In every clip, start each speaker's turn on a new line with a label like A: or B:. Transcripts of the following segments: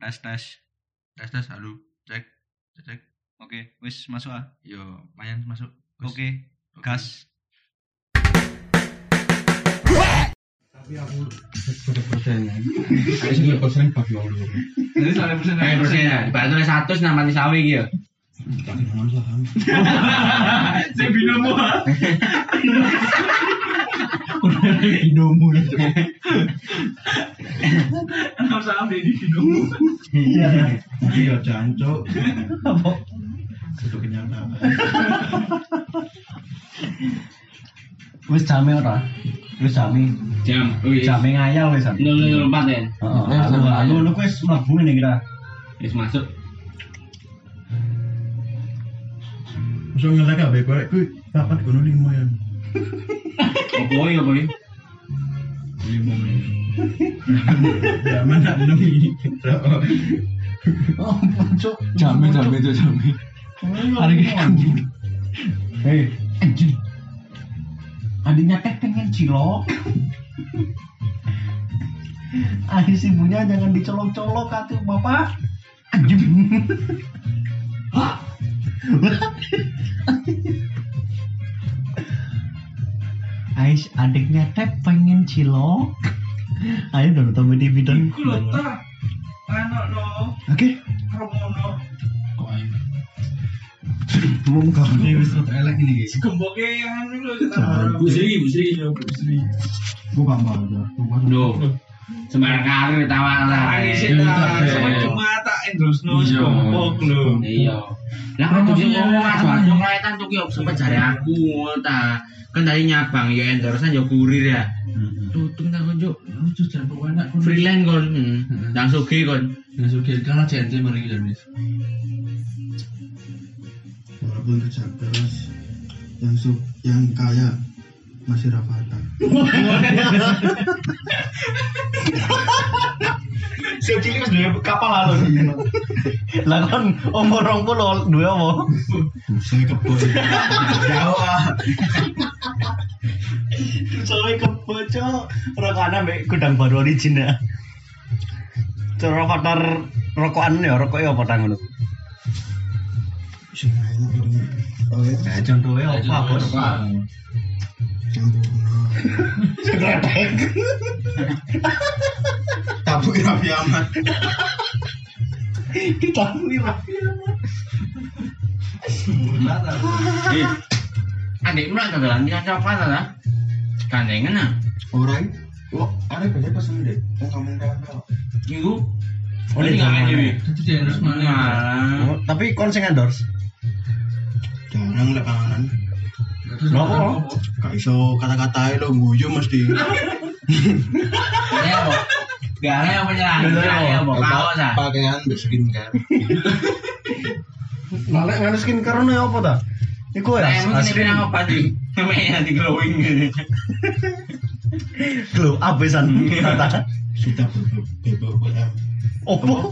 A: tes tes
B: tes tes halo cek cek, cek.
A: oke wis masuk ah
B: yo mayan masuk Wes.
A: oke gas
C: Tapi aku berdosen ya. Saya sih berdosen pas jual dulu.
A: jadi soalnya pesan
D: Eh, terus ya, ibarat oleh satu, nama mati sawi gitu.
C: Tapi jangan salah.
D: Saya binomo.
C: Binomo itu.
D: Nama sawi di binomo.
C: Tapi ya jancok. Sudah kenyataan.
E: wis jame ora wis jame
D: Jam, Oh, wih.
E: jame ngayal wis jame
D: Nol nol empat ya.
E: heeh aku aku lu wis mlebu ngene kira
D: Wis masuk.
C: Masuk ngelak kabeh korek kuwi papat kono limo ya.
D: Apa ya, apa ya?
C: Limo menit. Ya mana enam ini.
E: oh cok jame jame cok jame hari ini anjing hei anjing Eh, adiknya teh pengen cilok Adik si ibunya jangan dicolok-colok atuh bapak anjing Ais adiknya teh pengen cilok. Ayo dong tambah dividen.
D: Anak lo,
E: Oke.
D: Romono,
C: Belum kabeh wis rada elek ini guys.
D: gemboknya yang anu lo.
C: Jangan.
D: Bu Sri, Bu Sri.
C: Gua gak mau ya. Gua gak
D: Loh,
B: Hmm.
D: sembarang karir tawa lah.
C: Sama
D: Iya.
C: cuma
B: tak endosno
C: Iya.
B: gombok lho
D: Iya. Lah kan
C: Promosi
D: kudu ngomong
C: merah.
D: aja coklat tuh yo sempat jare aku ta. Kan tadi nyabang yo endorsean yo kurir ya.
B: Hmm.
D: Tutup tak kunjuk.
C: Ya,
B: lucu jan pewanak kon
D: Freelance kon. hmm. Dan sugih kon.
B: ya sudah kalah jente mari jan wis
C: Walaupun kerja keras yang sub yang kaya masih rafata.
E: Si cilik wis duwe kapal lalu. Lah kon umur 20 duwe apa?
C: Saya kebon. Jawa.
E: Soale keboco rokokane mbek gudang baru origin ya. Cara partner rokokan ya rokoke apa tang ngono?
C: Sing enak ini. Oh ya.
E: Nah, contohe
D: Eh,
E: apa, Bos?
C: Campurna. Tabu Raffi Ahmad.
E: Kita mira.
D: Eh, adikmu lah kagalan kan coklat ta? Gandengan ah.
C: Orang. Wah, ada banyak pesan deh. Mau ngomong apa?
D: Iku.
E: Oh,
D: Ini
E: iya, iya.
D: nggak ini.
B: itu dia harus mana
D: Malah.
E: Oh, Tapi kon sing endorse.
C: Jarang lah panganan.
E: Lah, apa?
C: Gak iso kata-kata lo guyu mesti.
D: Ya, Bo. Gak ada yang penyerang. Ya, Bo. Kaos ah.
C: Pakaian berskin kan.
E: Lalek ngene skincare ono ya apa ta? Iku ya.
D: Saya mungkin Nah, ini nang obat iki. Namanya di glowing.
E: Glow abesan.
C: Kita BBM.
E: Opo?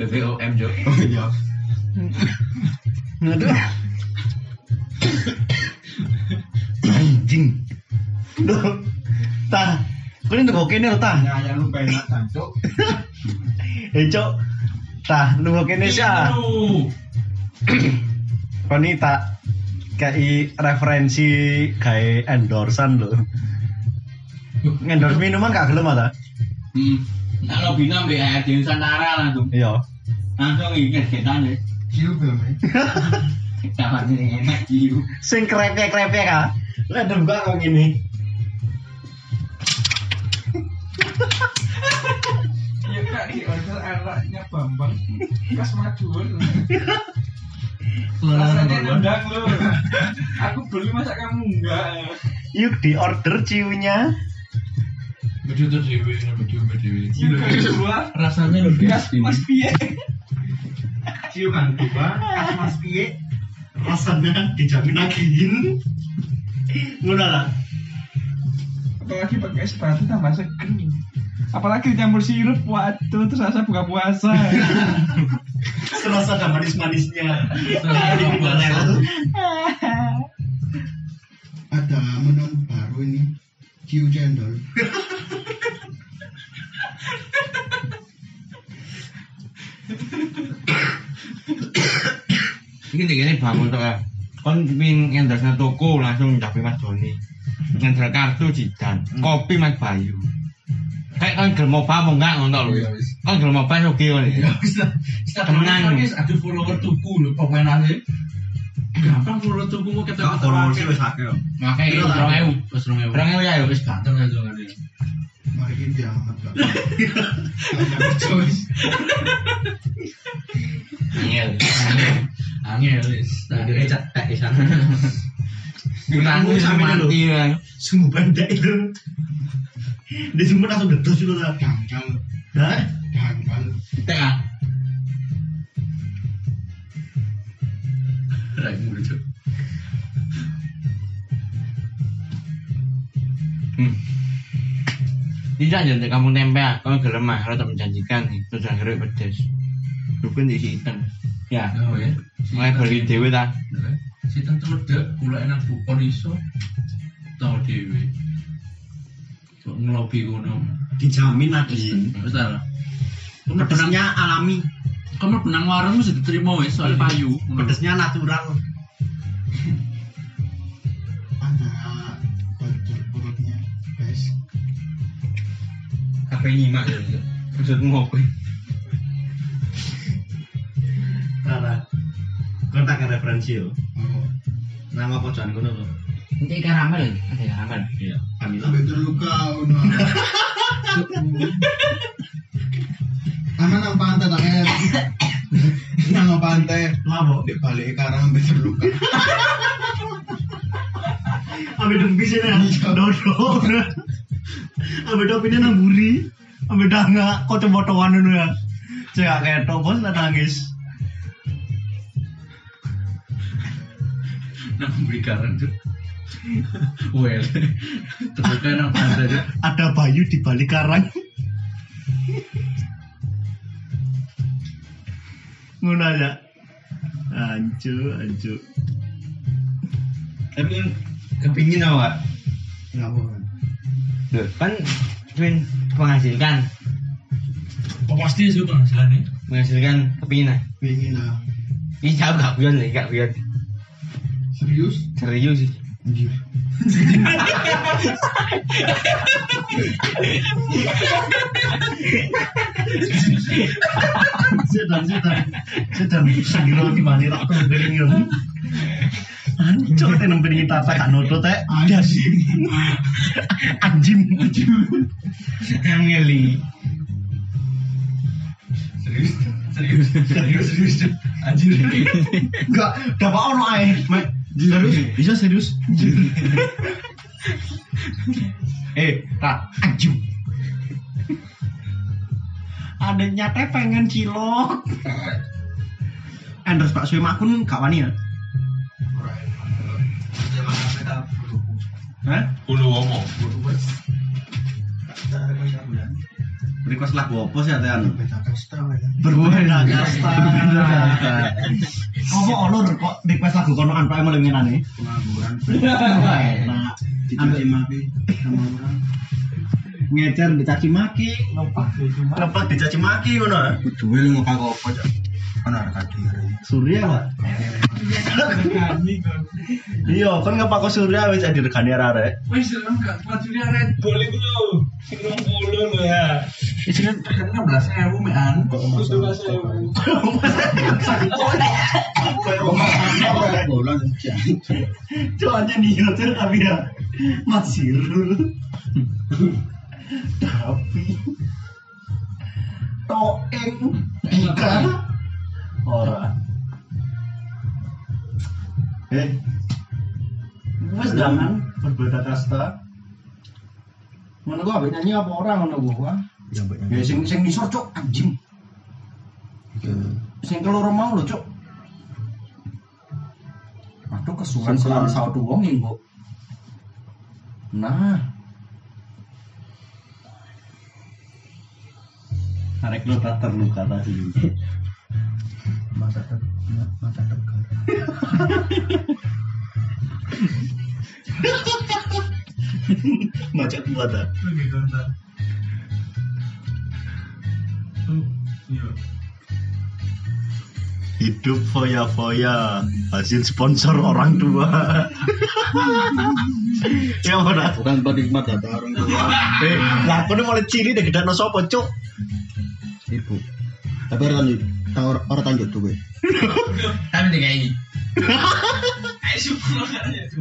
D: BBOM, Jo.
C: Oh iya.
E: Aduh. Anjing. Duh. Tah. Kau ini nunggu kene lho, tah.
C: Ya ya lu penak tancuk.
E: Eh, Cok. Tah, nunggu kene sih. ah.
D: Aduh.
E: Kau ini tak kayak referensi kayak endorsan lho. Endorse minuman gak gelem ah, ta?
D: Hmm. Nah, lo bina mbak ARD Nusantara langsung.
E: Iya.
D: Langsung ingat kita nih.
C: Kiu filmnya.
D: Kita pasti enak jiu.
E: Sing krepek-krepek ah. Lah dem gak kok ngene.
B: ya kak di order anaknya Bambang kas madun rasanya nendang lo aku beli masa kamu enggak
E: Yuk di order ciunya.
B: Bedu tuh dewe, bedu bedu.
C: Iya.
B: rasanya lebih mas mas piye?
E: kan,
C: Ciuman gua. Mas piye? Rasanya dijamin agihin.
E: Ngono lah.
B: Apalagi pakai sepatu tambah seger. Apalagi dicampur sirup, waduh, terus rasa buka puasa.
E: Serasa ada manis-manisnya.
C: Ada menu baru ini. Ciu cendol.
D: Ini gini bangun tuh ya. Kon pin endorse toko langsung tapi Mas Doni. Ngender kartu jidan,
B: Hmm.
D: kopi Mas Bayu. Kayak kan gelem mau pamong enggak ngono lho.
B: Iya, wis.
D: Kan gelem mau pas oke ngono.
B: Ya wis lah. Kita
D: Tenang.
B: temenan wis kan, ada follower tuku lho pemain ae. Gampang follower tuku mau ketemu
E: Hormon sih wis akeh.
B: Makanya
D: Iya,
B: 2000, wis 2000.
D: Berang ya ya wis Pak.
B: Ganteng aja kan ya.
C: Mari ini dia amat Pak.
B: iya. Wis.
D: Iya.
B: Angel wis. Tak
D: Jadi cetek isan. Kurang
C: Sampai dulu.
D: mati ya.
C: Sungguh bandai itu. Di sumber langsung dedos dulu lah.
B: gampang.
C: Hah?
B: Gampang.
D: Tek ah.
B: Raimu lucu.
D: Ừ. Tidak jadi kamu nempel, kamu gelem mah, kalau tak menjanjikan itu jangan gerak pedes. Rukun diisi hitam. Ya,
B: Oh ya.
D: mulai beli dewe ta.
B: Sitan terledek, kula enak bukon iso. Tau dhewe. Kok ngelobi kono.
E: Dijamin lagi.
B: Wis ta. Pedesnya
E: Pedesnya alami,
B: kamu benang warung mesti diterima wis
D: Iya.
B: soal payu.
E: pedesnya natural.
C: Antara bagi perutnya guys.
D: Apa nyimak ya? Maksudmu apa?
E: Rara. Kontak ke referensi yo.
C: Oh,
E: Nama pojokan kono lho.
D: Nanti karamel, ada karamel.
E: Iya. Kamila.
C: sampai terluka uno. Tangan nang pantai tangan. Nang pantai.
E: Labo.
C: Di balik karang sampai terluka.
E: Ambil dengki ya? sih nang
C: Iya.
E: dodo. Ambil dopine nang buri. Ambil danga kok cebotoan ngono ya. Cek gak ketok bos lah nangis.
B: Nang beri karang tuh. Well, terbuka nang pantai tuh.
E: Ada Bayu di balik karang. Ngono aja. Ancu, ancu.
D: Tapi kepingin awak.
C: Kenapa? Pak?
D: Loh, kan twin menghasilkan,
B: Kok pasti sih bang jalannya.
D: menghasilkan kepingin. ah.
C: Pengen lah.
D: Ini jauh gak bion nih, gak bion.
C: Serius?
D: Serius sih.
C: Iya.
E: Sedan, sedan. Sedan. Sanggiro di mana tak kering yo. Ancu tenan beringin tata kak nodo teh.
C: Anjing.
E: Anjing.
D: Angeli.
B: Serius, serius, serius, serius. Cuk. Anjir.
E: Enggak, dapat ono ae. Mek, Serius? Bisa serius? eh, tak anjing. Adanya teh pengen cilok. Endorse Pak Sui Makun gak wani ya?
C: Jangan sampai tak perlu.
E: Hah?
B: Ulu omo.
E: Request lagu apa sih anu? Atan?
C: Beta kasta ya.
E: Berbeda kasta. Apa olor kok request lagu konoan Pak Emel ngenane?
C: Pengangguran.
E: Enak.
C: Dicaci maki sama orang.
E: Ngecer dicaci maki,
F: Lompat ya cuma.
E: lepas dicaci maki ngono.
C: Duel mau kagak apa cak. Kan harga diri.
E: Surya, Pak.
F: Kani kan.
E: Iya, kan nggak pakai surya wis jadi regane arek.
B: Wih, serem gak? Majunya Red Bull itu loh. Serem puluh loh ya. Isinya enam belas ribu mean.
C: Bulan
E: Coanya nih hotel tapi ya Mas Sirul. Tapi Toeng Ika Ora. Eh, wes jangan berbeda kasta.
C: Mana gua abis nyanyi apa orang mana gua?
E: Ya sing sing nisor cok anjing.
C: Sing keloro mau lo cok. Aduh kesuwan selalu sawtu wong ya kok. Nah,
E: Arek lo tak terluka tadi.
C: mata teg, mata tegar.
E: Macet buat ah.
B: Oh, iya.
C: Hidup foya-foya hasil sponsor orang tua. ya mana?
G: bukan penikmat data orang tua
C: Eh, lah aku ini mulai cili deh gedakno sapa, Cuk?
G: ibu tapi orang orang orang tanjut tuh gue
D: Tapi deh kayak ini.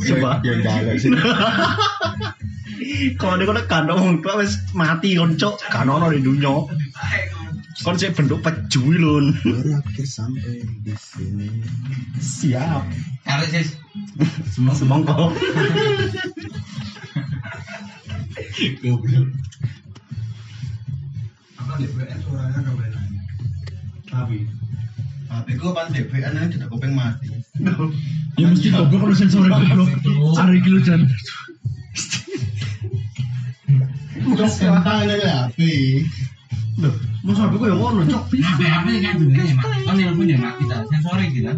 C: Coba.
G: yang jalan sih
C: Kalau ini kan kan orang tua wis mati kon, Cuk. Kan ono di dunia. Kon sik bentuk pejui lon.
G: baru akhir sampai di sini
C: Siap.
D: Kalau sih
C: Semongko.
G: ya? tapi gue Nah, pan DPN aja udah kuping mati
E: Ya mesti goblok kalau sensor goblok.
B: Oh.
E: Cari kilo jan.
G: bukan sekarang ini HP
C: Loh, masa aku yang ngono, Cuk?
D: Apa apa yang kan
B: gitu,
D: dulu ya mak? Kan yang punya mak kita sensorik kita.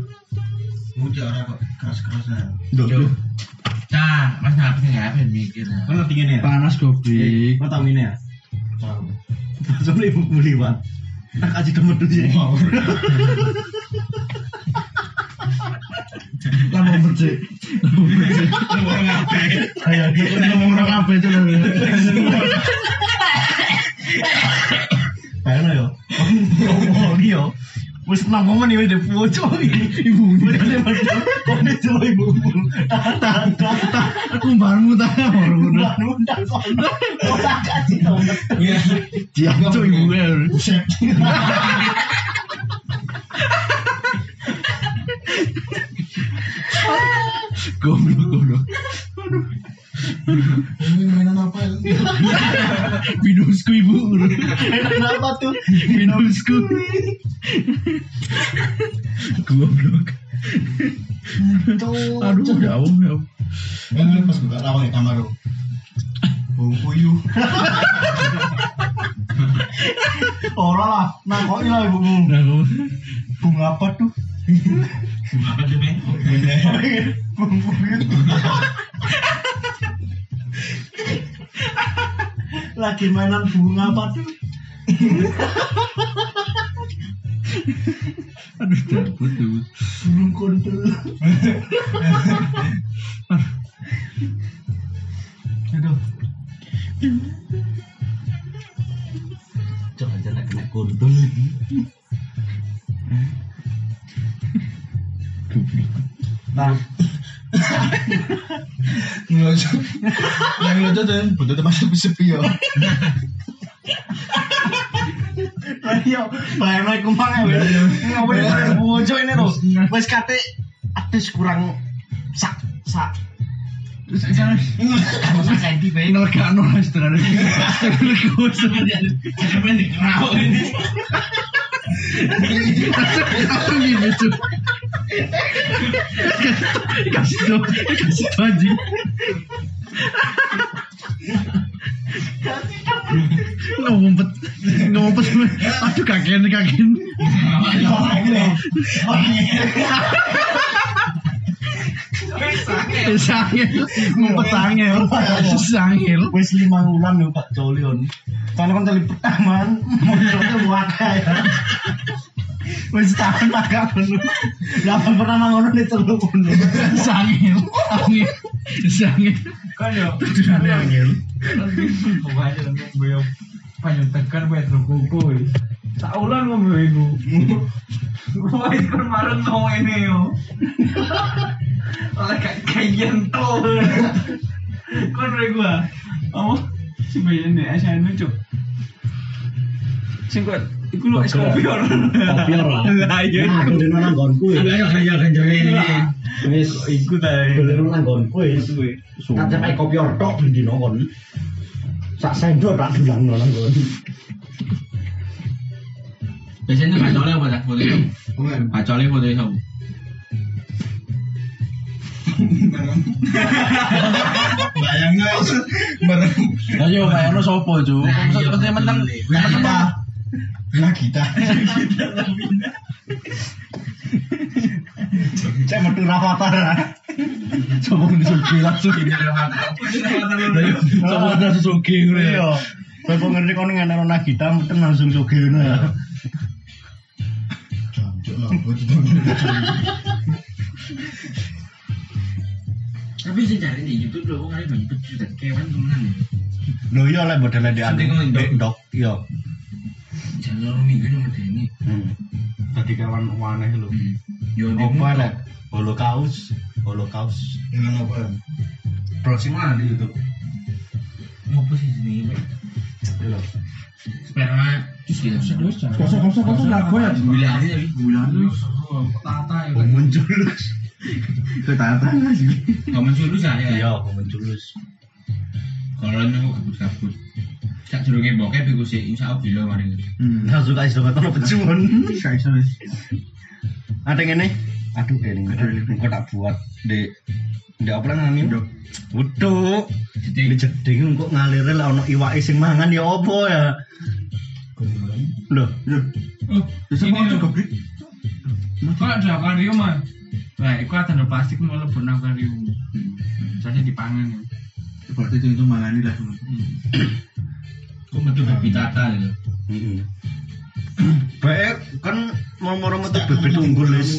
G: muda orang kok keras kerasnya
C: Loh, loh.
D: Nah, mas ngapain ya? Apa yang mikir?
C: Kan ngerti ngene ya?
E: Panas goblok.
C: Kau tahu ini ya?
G: tahu
C: Soalnya ibu beli pak. Tak aja kemedut ya.
E: Lama percik. Lama percik. Ayo, kita ngomong orang apa itu lah.
C: Pengen yo. Ngomong yo. Wis enam momen ini udah poco Ibu udah Kau ini cuma ibu ibu. Tahan tahan tahan.
E: Aku barmu tanya baru.
C: Nundang nundang soalnya. Orang kasih tau.
E: Diam cuy gue. Goblok goblok.
G: ini mainan apa ya
E: Bidusku ibu.
C: Kenapa tuh?
E: Bidusku. Goblok.
C: Tuh.
E: Aduh, ya Allah, ya Allah.
G: ini pas buka rawang di kamar lo bau puyuh
C: Orang lah. Nah kok ini lah ibu.
E: Nah, kamu-
C: Bunga apa tuh? Bunga apa tuh Lagi mainan bunga apa tuh?
E: Aduh, takut tuh.
C: Burung kuntul. Aduh.
H: Coba aja nak kena kuntul.
C: Nah,
G: ngelucu yang lucu dan butuh tempat sepi-sepi ya
C: ayo, bayangin aku mang ya. Ngapain bayangin bojo ini loh. Wes kate atus kurang sak sak.
E: Terus di sana,
D: Masa ganti baik.
E: pengen rekano lah setengah dari setengah kosong.
D: Kenapa nih kerau ini?
E: Apa gini tuh? Kasih tau, kasih tau aja. Ngompet, ngompet. Aduh, kakean, kakean. Eh, Sangil, ngumpet sangil. Sangil.
C: Wes lima bulan nih Pak Jolion. Karena kan tadi pertama, motornya wakai. ya. Wes tahun agak penuh. Dapat pernah mangono nih telur penuh.
E: Sangil, sangil, sangil.
B: Kan yo. Bayar panjang Kan ya, tekan bayar terkumpul. Tak ulang ngomong ibu. Wah itu kan marah ngomong ini yo. Oleh kayak kajian tol. Kan dari gua. Oh, si Anu, bayi ini asalnya lucu. Singkat, iku lu es kopi orang.
G: Kopi ora.
B: Lah iya.
G: nah aku di mana gonku ya wis
B: Iku
C: iya.
B: tadi.
G: bener nang gonku ya kan sampai kopi ortok di dino kon sak sendok tak dulang nang kon
D: Biasanya pacolnya apa tak foto itu? Pacolnya foto itu.
G: bayangnya bareng
H: Ayo, Pak Eno sopo, Cuk?
D: Nah, iya,
H: Maksudnya penting menang.
G: kita lah kita
C: Saya metu rafatar.
E: Sombong disugi langsung. Sombong langsung sugi.
C: Iya. Kowe kok ngerti kon ngeneh ana Nagita meten langsung sugeno ya.
G: Jancuk.
D: Tapi sih cari di YouTube loh, kok kali banyak pecut dan kewan temenan ya.
E: Lho iya lek modele ndek anu.
D: Nanti kau ndok.
E: Ndek ndok yo.
D: Jangan lorong minggu nomor ini.
E: Dadi kawan aneh lho.
D: Yo di
E: Apa lek holocaust, holocaust.
D: Dengan apa?
E: Proximal di YouTube.
D: Ngopo sih ini? Pak?
E: Lho.
D: Sperma. Terus dia usah dosa.
I: Kosong kosong kosong lah gue.
D: Bulan aja tapi bulan lu.
B: tata ya
E: Oh, muncul.
D: Gak muncul lu saya.
E: Iya, oh, muncul.
D: Kalau nemu kabut kabut. Tak jurungnya bokep iku sih insya Allah bila mari.
E: Nah, Hmm, suka iso ketono pecun. Ada ngene. Aduh, ini kok tak buat di di apa lah ngene? Wedok. Jadi jeding kok ngalirnya lah ono iwake sing mangan ya apa ya? Loh,
B: iya. Ini lho. Kok ada akuarium ah? Nah, itu ada plastik mau lebur nang akuarium. Saya dipangan ya.
D: Berarti itu itu mangani lah. Kok metu babi tata lho.
E: Baik, kan mau moro metu bebet unggul wis.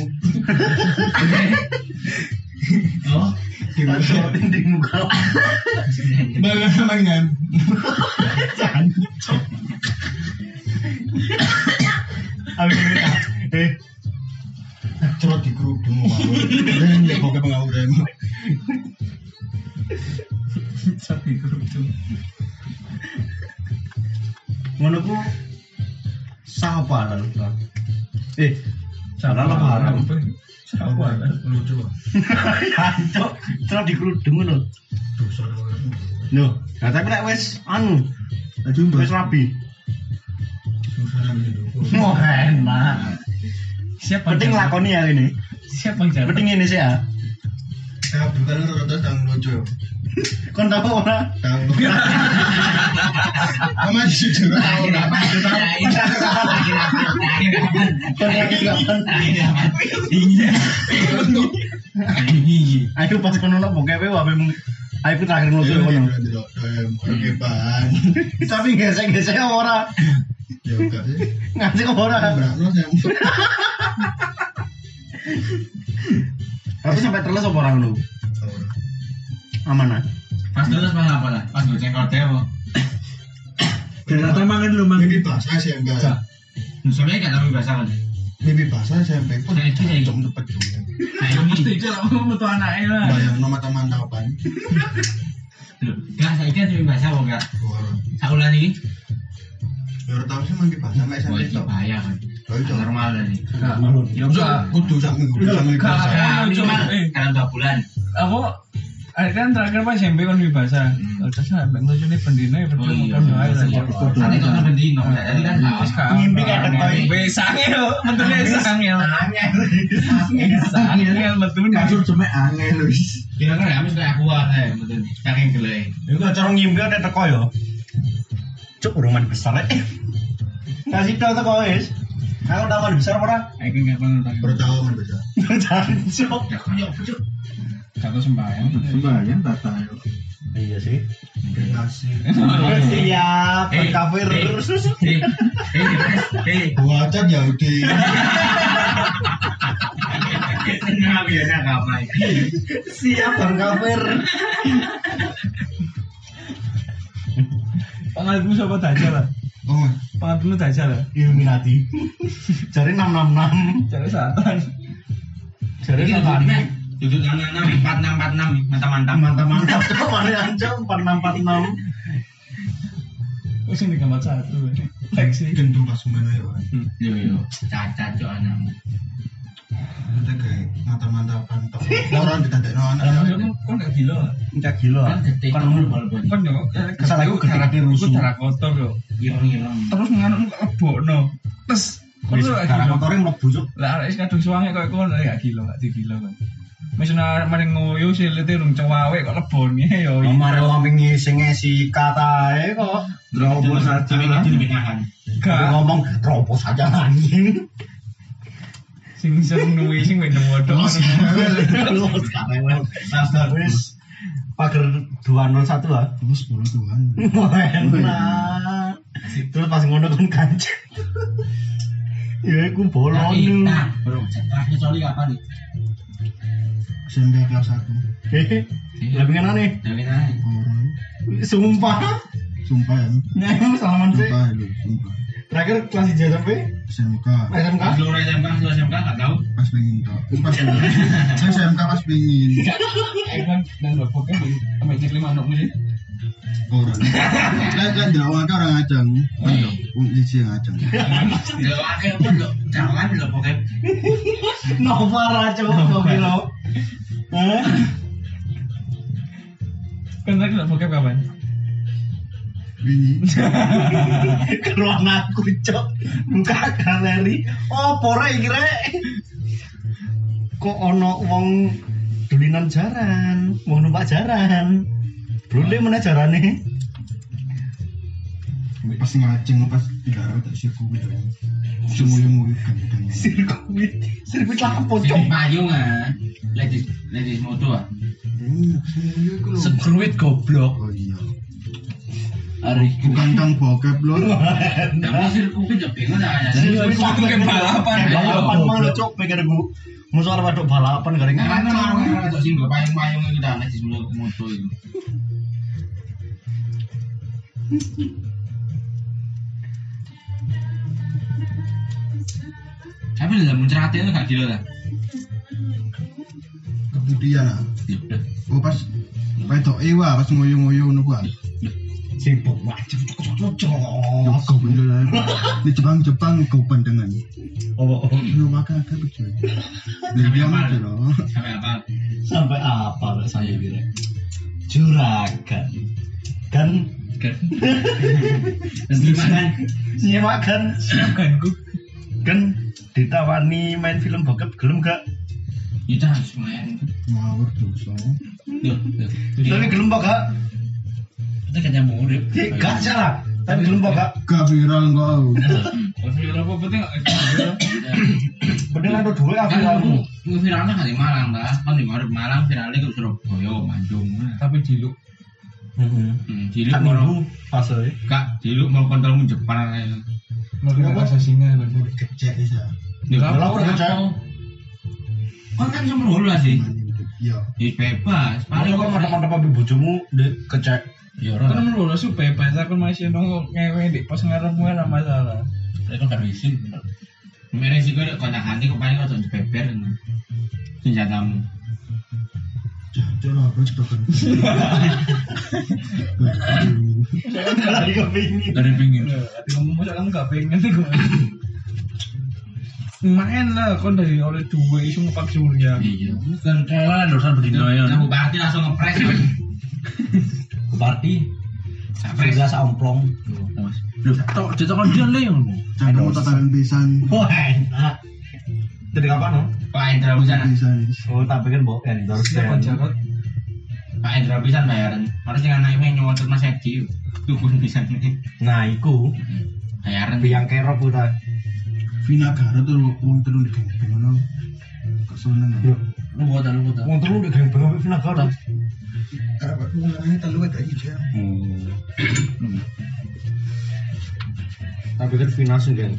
D: Oh,
E: Ding muka.
D: bagus mangan.
E: Abi kita. Eh,
C: Cerot di kerudung. Dan ya pokoknya pengawuran.
B: Sapi kerudung.
E: ngono ku sapa lan. Eh, salah lah haram.
B: Siapa lah?
J: lucu
E: Hancok, cerot di kerudung ngono.
J: dosa dosa
E: Loh, nah tapi lek wis anu, wis rabi.
J: dosa dosa
E: Wah, enak.
B: Siapa?
E: Penting
B: yang-
E: lakoni ya ini.
B: Siapa yang jalan?
E: Penting ini sih ya.
C: Saya bukan terus dan lucu.
E: Kon tau ora?
C: Tahu. Kamu jujur tahu apa?
E: Kon lagi kapan? Aduh pas kono ono bokep wae mung aku terakhir
C: Tahu
E: nulis kono.
C: Oke pan.
E: Tapi gesek-gesek ora.
C: Ya enggak sih.
E: Ngasih ora.
C: Berapa sih?
E: Aku sampai terles apa orang lu? Aman ah.
D: Pas terus malah apa lah? Pas goceng kote apa?
I: Ternyata mangan lu mangan.
C: Mimpi bahasa SMP.
D: Soalnya gak tahu bahasa kan.
C: Mimpi bahasa SMP. Kok
D: Nah, itu ya.
C: jom cepet juga.
D: Ayo
B: Ya, Mesti itu lah, mau metu anaknya lah.
D: Iya,
C: Bayang nama teman tapan.
D: Enggak, saya kira tapi bahasa kok enggak. Sakulan ini,
C: Ya tahu sih mimpi bahasa nggak
D: wah
C: SMP
D: itu
C: tau.
D: bahaya kan.
C: Tahu itu.
D: Normal lah nih.
B: Ya enggak.
C: Kudu sak minggu sak minggu
B: Enggak.
C: bahasa.
D: Nah,
B: cuma-
D: minimal
B: eh.
D: dalam dua bulan.
B: Aku eh, kan terakhir pas SMP kan di bahasa.
D: Hmm.
B: Terus sampai ngelucu nih pendino ya
D: Oh
B: percuma
D: iya,
B: kan doa lah.
D: Nanti kalau bendino, jadi kan
B: Terus kan.
E: Ngimpi gak ada koi.
B: Besange lho, metune sange. Sange kan metune.
I: Kasur cuma angin lu. wis.
D: Kira-kira ya, mesti aku wah, eh, betul. Saking gelai.
E: Iku cara ngimpi ada teko yo. Cuk rumahan besar eh. Kasih tau teko wis. Aku taman besar ora?
B: Aku enggak Nah, pernah
C: Bertahu kan
B: tahu.
C: bisa.
E: Jancuk.
D: Ya, kan, ya, pucuk.
B: Kata sembahyang.
I: Sembahyang tata yo.
E: Iya sih.
C: Nasi.
E: Siap,
D: Eh,
E: kafir.
D: eh. Eh, eh, eh,
C: Buat aja Yahudi.
D: eh, tenang, biasa kapan.
E: Siap, bang kafir.
B: Pengalmu siapa dajal lah?
C: Oh,
B: Pengalmu dajal lah.
E: Illuminati. Jari 666.
B: Jadi satan.
E: Jari
D: Ini
E: satan.
D: duduknya, duduk enam, enam, enam, empat, enam, empat, enam, mantap-mantap.
E: Mantap-mantap. Cuk, mana aja 4646.
B: Terus yang di gambar satu. Leksi.
E: kan
C: gendut pas mana ya. Wan.
D: Yo, yo, cacat, cok, anakmu.
C: Kita kayak mata mata pantau. Orang ditandai no anak. ya.
B: Kok enggak gila?
E: Enggak gila.
D: Kan gede,
E: Kan
D: kan,
E: umur.
D: bol-bol.
B: Kan yo.
E: Salah aku geraknya rusuh.
B: Aku darah kotor yo.
D: Ireng-ireng.
B: Terus nganuk kok lebokno. Terus
E: Wis,
B: Terus lagi
E: Darah
B: lho.
E: motornya mlebu cuk.
B: Lah arek kadung suwange kok kono gak gila, gak digila kan. Misalnya maring ngoyo silite rung cewawe kok lebone yo.
E: Omare wong ngisi ngisi katae kok.
I: Robo saja
D: Tapi
I: lah.
D: itu lebih nahan.
E: Dia
B: Gak
E: ngomong robos aja anjing.
B: sing sing nuwi sing wene modok.
E: Lu sekarang wis pager 201 lah.
C: Lu sepuluh tuan.
E: Enak. Terus pas ngono kan kancet. Ya iku bolone.
D: Nah, bro, terakhir coli kapan nih?
C: SMP kelas 1
E: Eh, Lah pengen aneh.
D: Dari naik.
C: orang
E: Sumpah.
C: sumpah ya
E: Nah, emang salaman sih.
C: sumpah lu sumpah
E: Terakhir kelas hijau sampai
C: SMK
E: SMK.
D: Seluruh SMK, seluruh SMK nggak tahu.
C: pas pengen tok pas pengen saya SMK pas pengen
D: Ikan dan rokoknya di sampai cek lima anak musik.
C: orang kan lihat lihat di lawan orang ajang Mantap. Wong siji yang ajang
D: Gak pakai pun lo, jangan lo pakai.
E: Nova Raco Nova lo. Hah?
B: Kontrak nggak bokep kapan?
C: ini
E: Ke ruang aku cok. Buka galeri. Oh, pora iki rek. Kok ono wong dulinan jaran, mau numpak jaran. Brule mana jarane?
C: pas ngajeng pas dilarang tak sih kuwi semuanya mau ganteng
E: Sirkuit, sirkuit lah
C: Oh,
D: Jadi
E: pocong.
D: payungan, ah. ladies ladies moto ah.
C: semuanya iku lho.
K: Sekruit goblok.
C: oh iya
D: Hari
C: bukan tang bokep lho
D: tapi sirkuit ya bingung ah. aja.
E: Sirkuit lah
K: Kayak balapan.
E: Eh,
D: Ayo,
E: balapan malah cok pikir gue mau soal waduk balapan gak
D: Nah,
E: ingat
D: kan orang itu sih nggak payung-payung itu dah ladies moto itu. Tapi udah muncrat itu gak gila lah.
C: kemudian lah oh pas Wedok ewa pas ngoyo-ngoyo ngono kuwi. ah.
E: sibuk wajib cok cok
C: Oh, kau bener lah. Di Jepang Jepang kau pandangan.
E: oh
C: Lu makan apa cuy? Dari dia
D: Apa?
C: aja loh.
D: Sampai apa?
E: sampai apa lah saya kira juragan dan
D: Dan gimana?
E: nyewakan
B: Bukan gue.
E: kan ditawani main film bokep gelem gak
D: Kita harus main.
C: Ngawur dosa.
D: Duh, duh.
E: tapi gelem apa gak
D: Kita kerja murid.
E: Eh, gak salah tapi gelem apa gak
C: Gak viral kau.
B: Berapa penting
E: bener ada dua aku kamu
D: Itu viralnya kan di Malang lah, kan di Malang Malang viralnya ke Surabaya, Bandung.
B: Tapi diluk.
D: Hmm, Cilik
E: kan
D: mau
E: minggu pas eh.
D: kak, cilik mau kontrolmu Jepang. aja.
B: Mau kita rasa singa kan.
C: Kecek bisa.
D: Duh,
B: Lah,
E: lah, udah
D: kenapa? Kan kan semua lah sih.
C: Mandi udah. Iya.
D: Ya, bebas.
E: Paling
D: Paling
E: kok
D: kok
E: mantap-mantap ambil bojomu dek kecek.
D: Ya
B: Kan
D: orang.
B: menurut aku bebas aku kan masih nongol ngewe di pas ngarep gue ada masalah.
D: Saya kan gak izin. Mereka sih gue kontak hati kok paling kau beber. Senjatamu.
C: Jancur apa sih kan?
E: Lagi kepingin.
D: Dari pinggir.
B: Loh, Iya, hati Kamu masa kamu gak pengen sih gue. Main lah, kon dari oleh dua isu ngepak surya.
D: Iya.
K: Kan kalah dosa bedino ya.
D: Nah, bupati langsung ngepres.
E: Bupati
D: Ngepres.
E: sudah saomplong.
K: Loh, tok cecokan dia le ngono.
C: Jangan mau tataran pisan.
E: Wah enak. Jadi kapan no?
D: eh, ah. Pak Endra
C: Nah.
D: bisa.
C: Pisan.
E: Oh tak pikir bawa endorse.
B: Kita
E: dan-
B: pacaran.
D: Pak Endra bisa bayaran. kan Harus dengan naiknya nyawa terus masih di tukun bisa nih.
E: Nah iku
D: Bayaran.
E: biang kerok kita.
C: Vina Gara tuh uang terus di kampung mana? Keseneng.
K: Lu kota lu kota.
E: Wong telu udah geng bengi final karo.
C: Hmm. Karena aku ngomongnya terlalu kayak gitu ya.
E: Tak pikir final kan sing geng.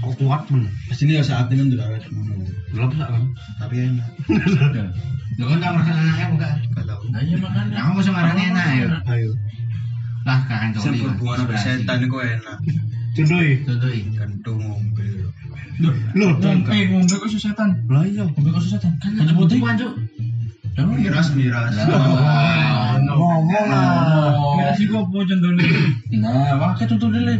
E: Kok kuat men?
C: Pasti ini ya saat ini udah ada
E: Gelap sak kan?
C: Tapi enak.
D: Lu kan tak merasa enaknya bukan?
C: Gak tau.
K: Nah, iya makan.
D: Nah, kamu semarangnya enak ya.
E: Ayo.
K: kan,
D: Lah, kangen cowok.
C: Saya berhubungan sama setan kok enak.
E: Cundoi.
D: Contohin.
K: iya.
C: Gantung ngombe.
E: Loh,
B: Ngombe, ngombe kok setan.
E: lah iya.
B: Ngombe kok setan. Kan
K: Kan putih kan cuk.
C: Miras miras.
E: Ngomong lah.
B: Ngira sih gue mau contohnya.
K: Nah, wae tutul le.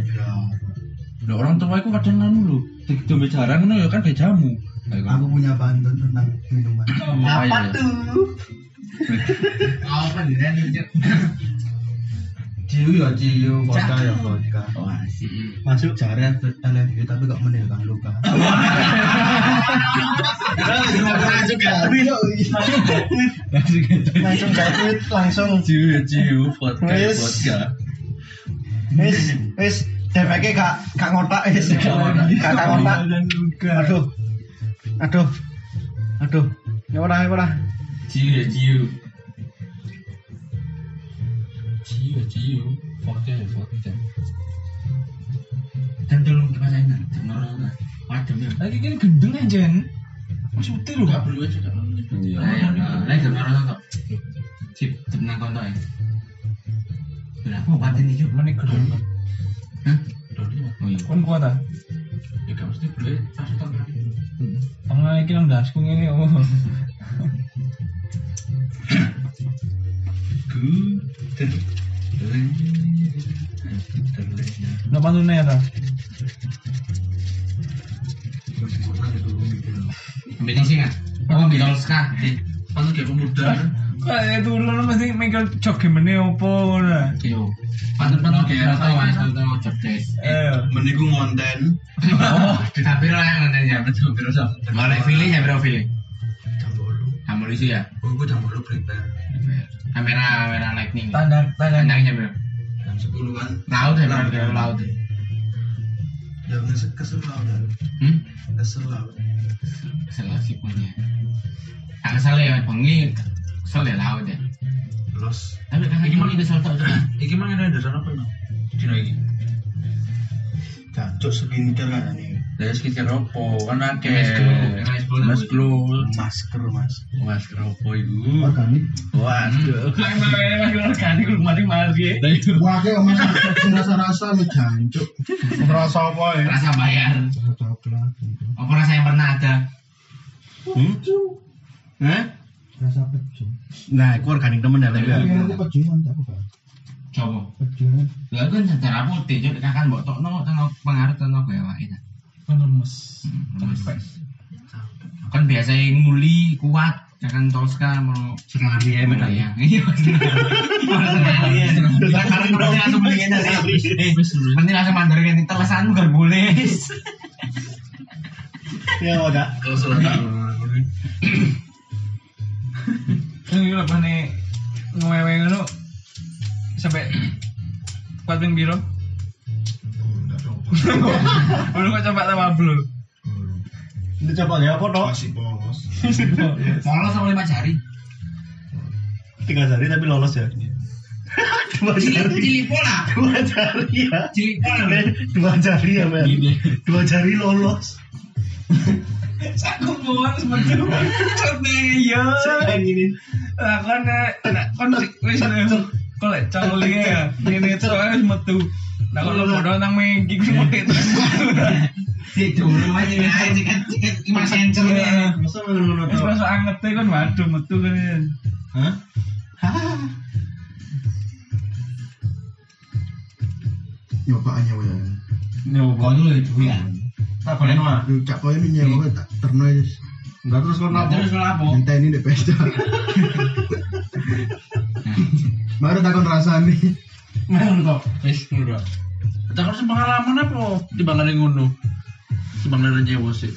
K: Lah orang tua iku kadang nganu lho. Digembe jarang ngono ya kan gak jamu.
C: Aku punya pantun tentang minuman.
E: Apa tuh?
D: Apa nih? Ren?
C: Ciu ya ciu, vodka ya vodka.
D: Wah, sih.
E: Masuk.
C: Jarang LFG tapi gak meninggalkan luka.
E: Langsung gatuit. Langsung gatuit. Langsung.
K: Ciu ciu vodka
E: Wis. Wis. Wis. DPK gak gak ngotak wis. Gak gak ngotak.
B: Dan juga.
E: Aduh. Aduh. Aduh. Ya ora ya ora.
D: Ciu ya ciu.
K: Ciu ciu vodka ya vodka.
D: Dan tolong kipasin nang denger ora. Padem ya.
B: Lagi kan gendeng aja. Maksudnya lu
D: Enggak perlu aja enggak apa-apa.
K: Iya.
D: Lah ya, lah denger ora tok. Sip, tenang kon tok ya. Lah kok patin iki
B: Menik Eh, gendeng.
D: Hah? Oh iya.
B: Kon kuat ah.
K: Ya gak mesti boleh pas tengah.
B: Tengah iki nang dasku ngene oh. Nang manune ya ta.
D: Ambil sing ah. Oh, ambil ska.
K: Pas kayak pemuda.
B: Kayak dulu ya, lu mesti mikir joge mene opo ngono.
D: Yo. Pantun-pantun daerah tau wae tau cerdas.
B: Eh.
E: Mending ngonten.
D: Oh, tapi lah yang nanti ya, betul betul so. Mulai feeling ya, bro feeling.
K: Jam bolu.
D: Kamu lucu ya.
K: Oh, gue jam bolu prepare.
D: Kamera kamera lightning.
B: Tanda tanda
D: Kandangnya bro.
K: Jam kan. sepuluhan.
D: Laut ya, bro. Bro, Laut. ya.
K: Jam kesel lah. kan.
D: Hmm.
K: Kesel lah.
D: Kesel sih punya. Aku salah ya, bengi. Kesel ya laut ya.
K: Los.
D: Tapi kan lagi mau nih kesel tau.
K: Iki mang ada dasar apa no? Dino iki.
E: Jancuk selintir kan ini.
K: Dari sekitar ya, opo, kan akeh.
D: Mas
K: Mas Glow.
D: Glow. Mas Glow.
E: Masker mas.
K: Mas Glow opo iku?
L: Organik.
D: Iya,
K: Waduh.
L: Wah, kayak mas rasa-rasa nih jancuk. Rasa apa ya?
D: Rasa bayar.
L: Rasa coklat.
D: Apa rasa yang pernah ada?
C: Hah?
L: Rasa peju.
C: Nah, aku organik temen ya,
L: Tapi
C: lagi.
L: aku pejuan, tak apa
D: Coba.
L: Pejuan.
D: Lah kan secara putih, jadi kakak mbok tokno tengok pengaruh tengok ya, Wak. Iya.
B: ngono mes.
D: Hmm. kan biasa yang nguli kuat ya kan Tolska mau
C: Sengari ya,
D: Bener
C: bener ya.
D: ya iya karena kemarin langsung beli aja sih Eh, penting langsung mandarin ini telesan gak boleh
E: Ya
M: Oh,
E: udah.
K: Kalau selatan.
L: Iya.
B: Eh, kan Ini lho pane ngewewe ngono sampai kuat ping piro? Ono kok coba tambah blu.
E: Ini coba ya apa toh?
K: Masih polos.
D: Molos sama lima jari
E: Tiga jari tapi lolos ya.
M: Iya.
E: Dua
D: cilik
E: jari.
D: cilik pola
E: Dua jari ya.
D: cilik pola
E: Eh, Dua jari ya men.
D: iya.
E: Dua jari lolos.
B: Aku mau seperti itu. Iya.
E: Saya ingin
B: Lah kon nek nek kon si- wis lho. Kon lek coli ya. Ngene terus ae wis metu. Lah kon lho bodoh nang mengki ku mati terus.
D: si dulu aja nih aja ciket ciket lima sensor nih
C: Masa ngono
B: Wis masuk angete kon waduh metu kan. ya.
C: Hah?
M: nyoba aja ya
D: kau dulu itu ya
C: Tak boleh mah.
M: cak kau ini
E: Iya.
M: nyewa tak terno wis.
C: Enggak terus kok
D: Nah, terus lo apa
M: Entah ini deh pesta baru takon rasa nih
K: Wis ngono. Kita harus pengalaman apa di bangane ngono? Di bangane nyewa sih.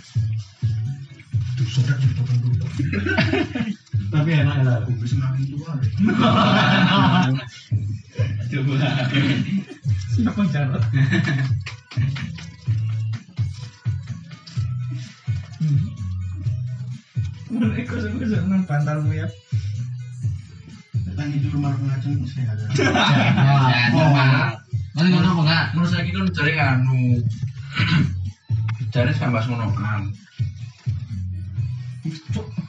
C: Tapi enak ya.
B: Siapa jarot? Mereka sungguh-sungguh nang bantalmu ya.
E: datang itu rumah pengacung saya ada.
D: ya coba Mas ngono apa enggak
K: Menurut saya kan jare anu. Jare sambat ngono kan. Wis, Cuk,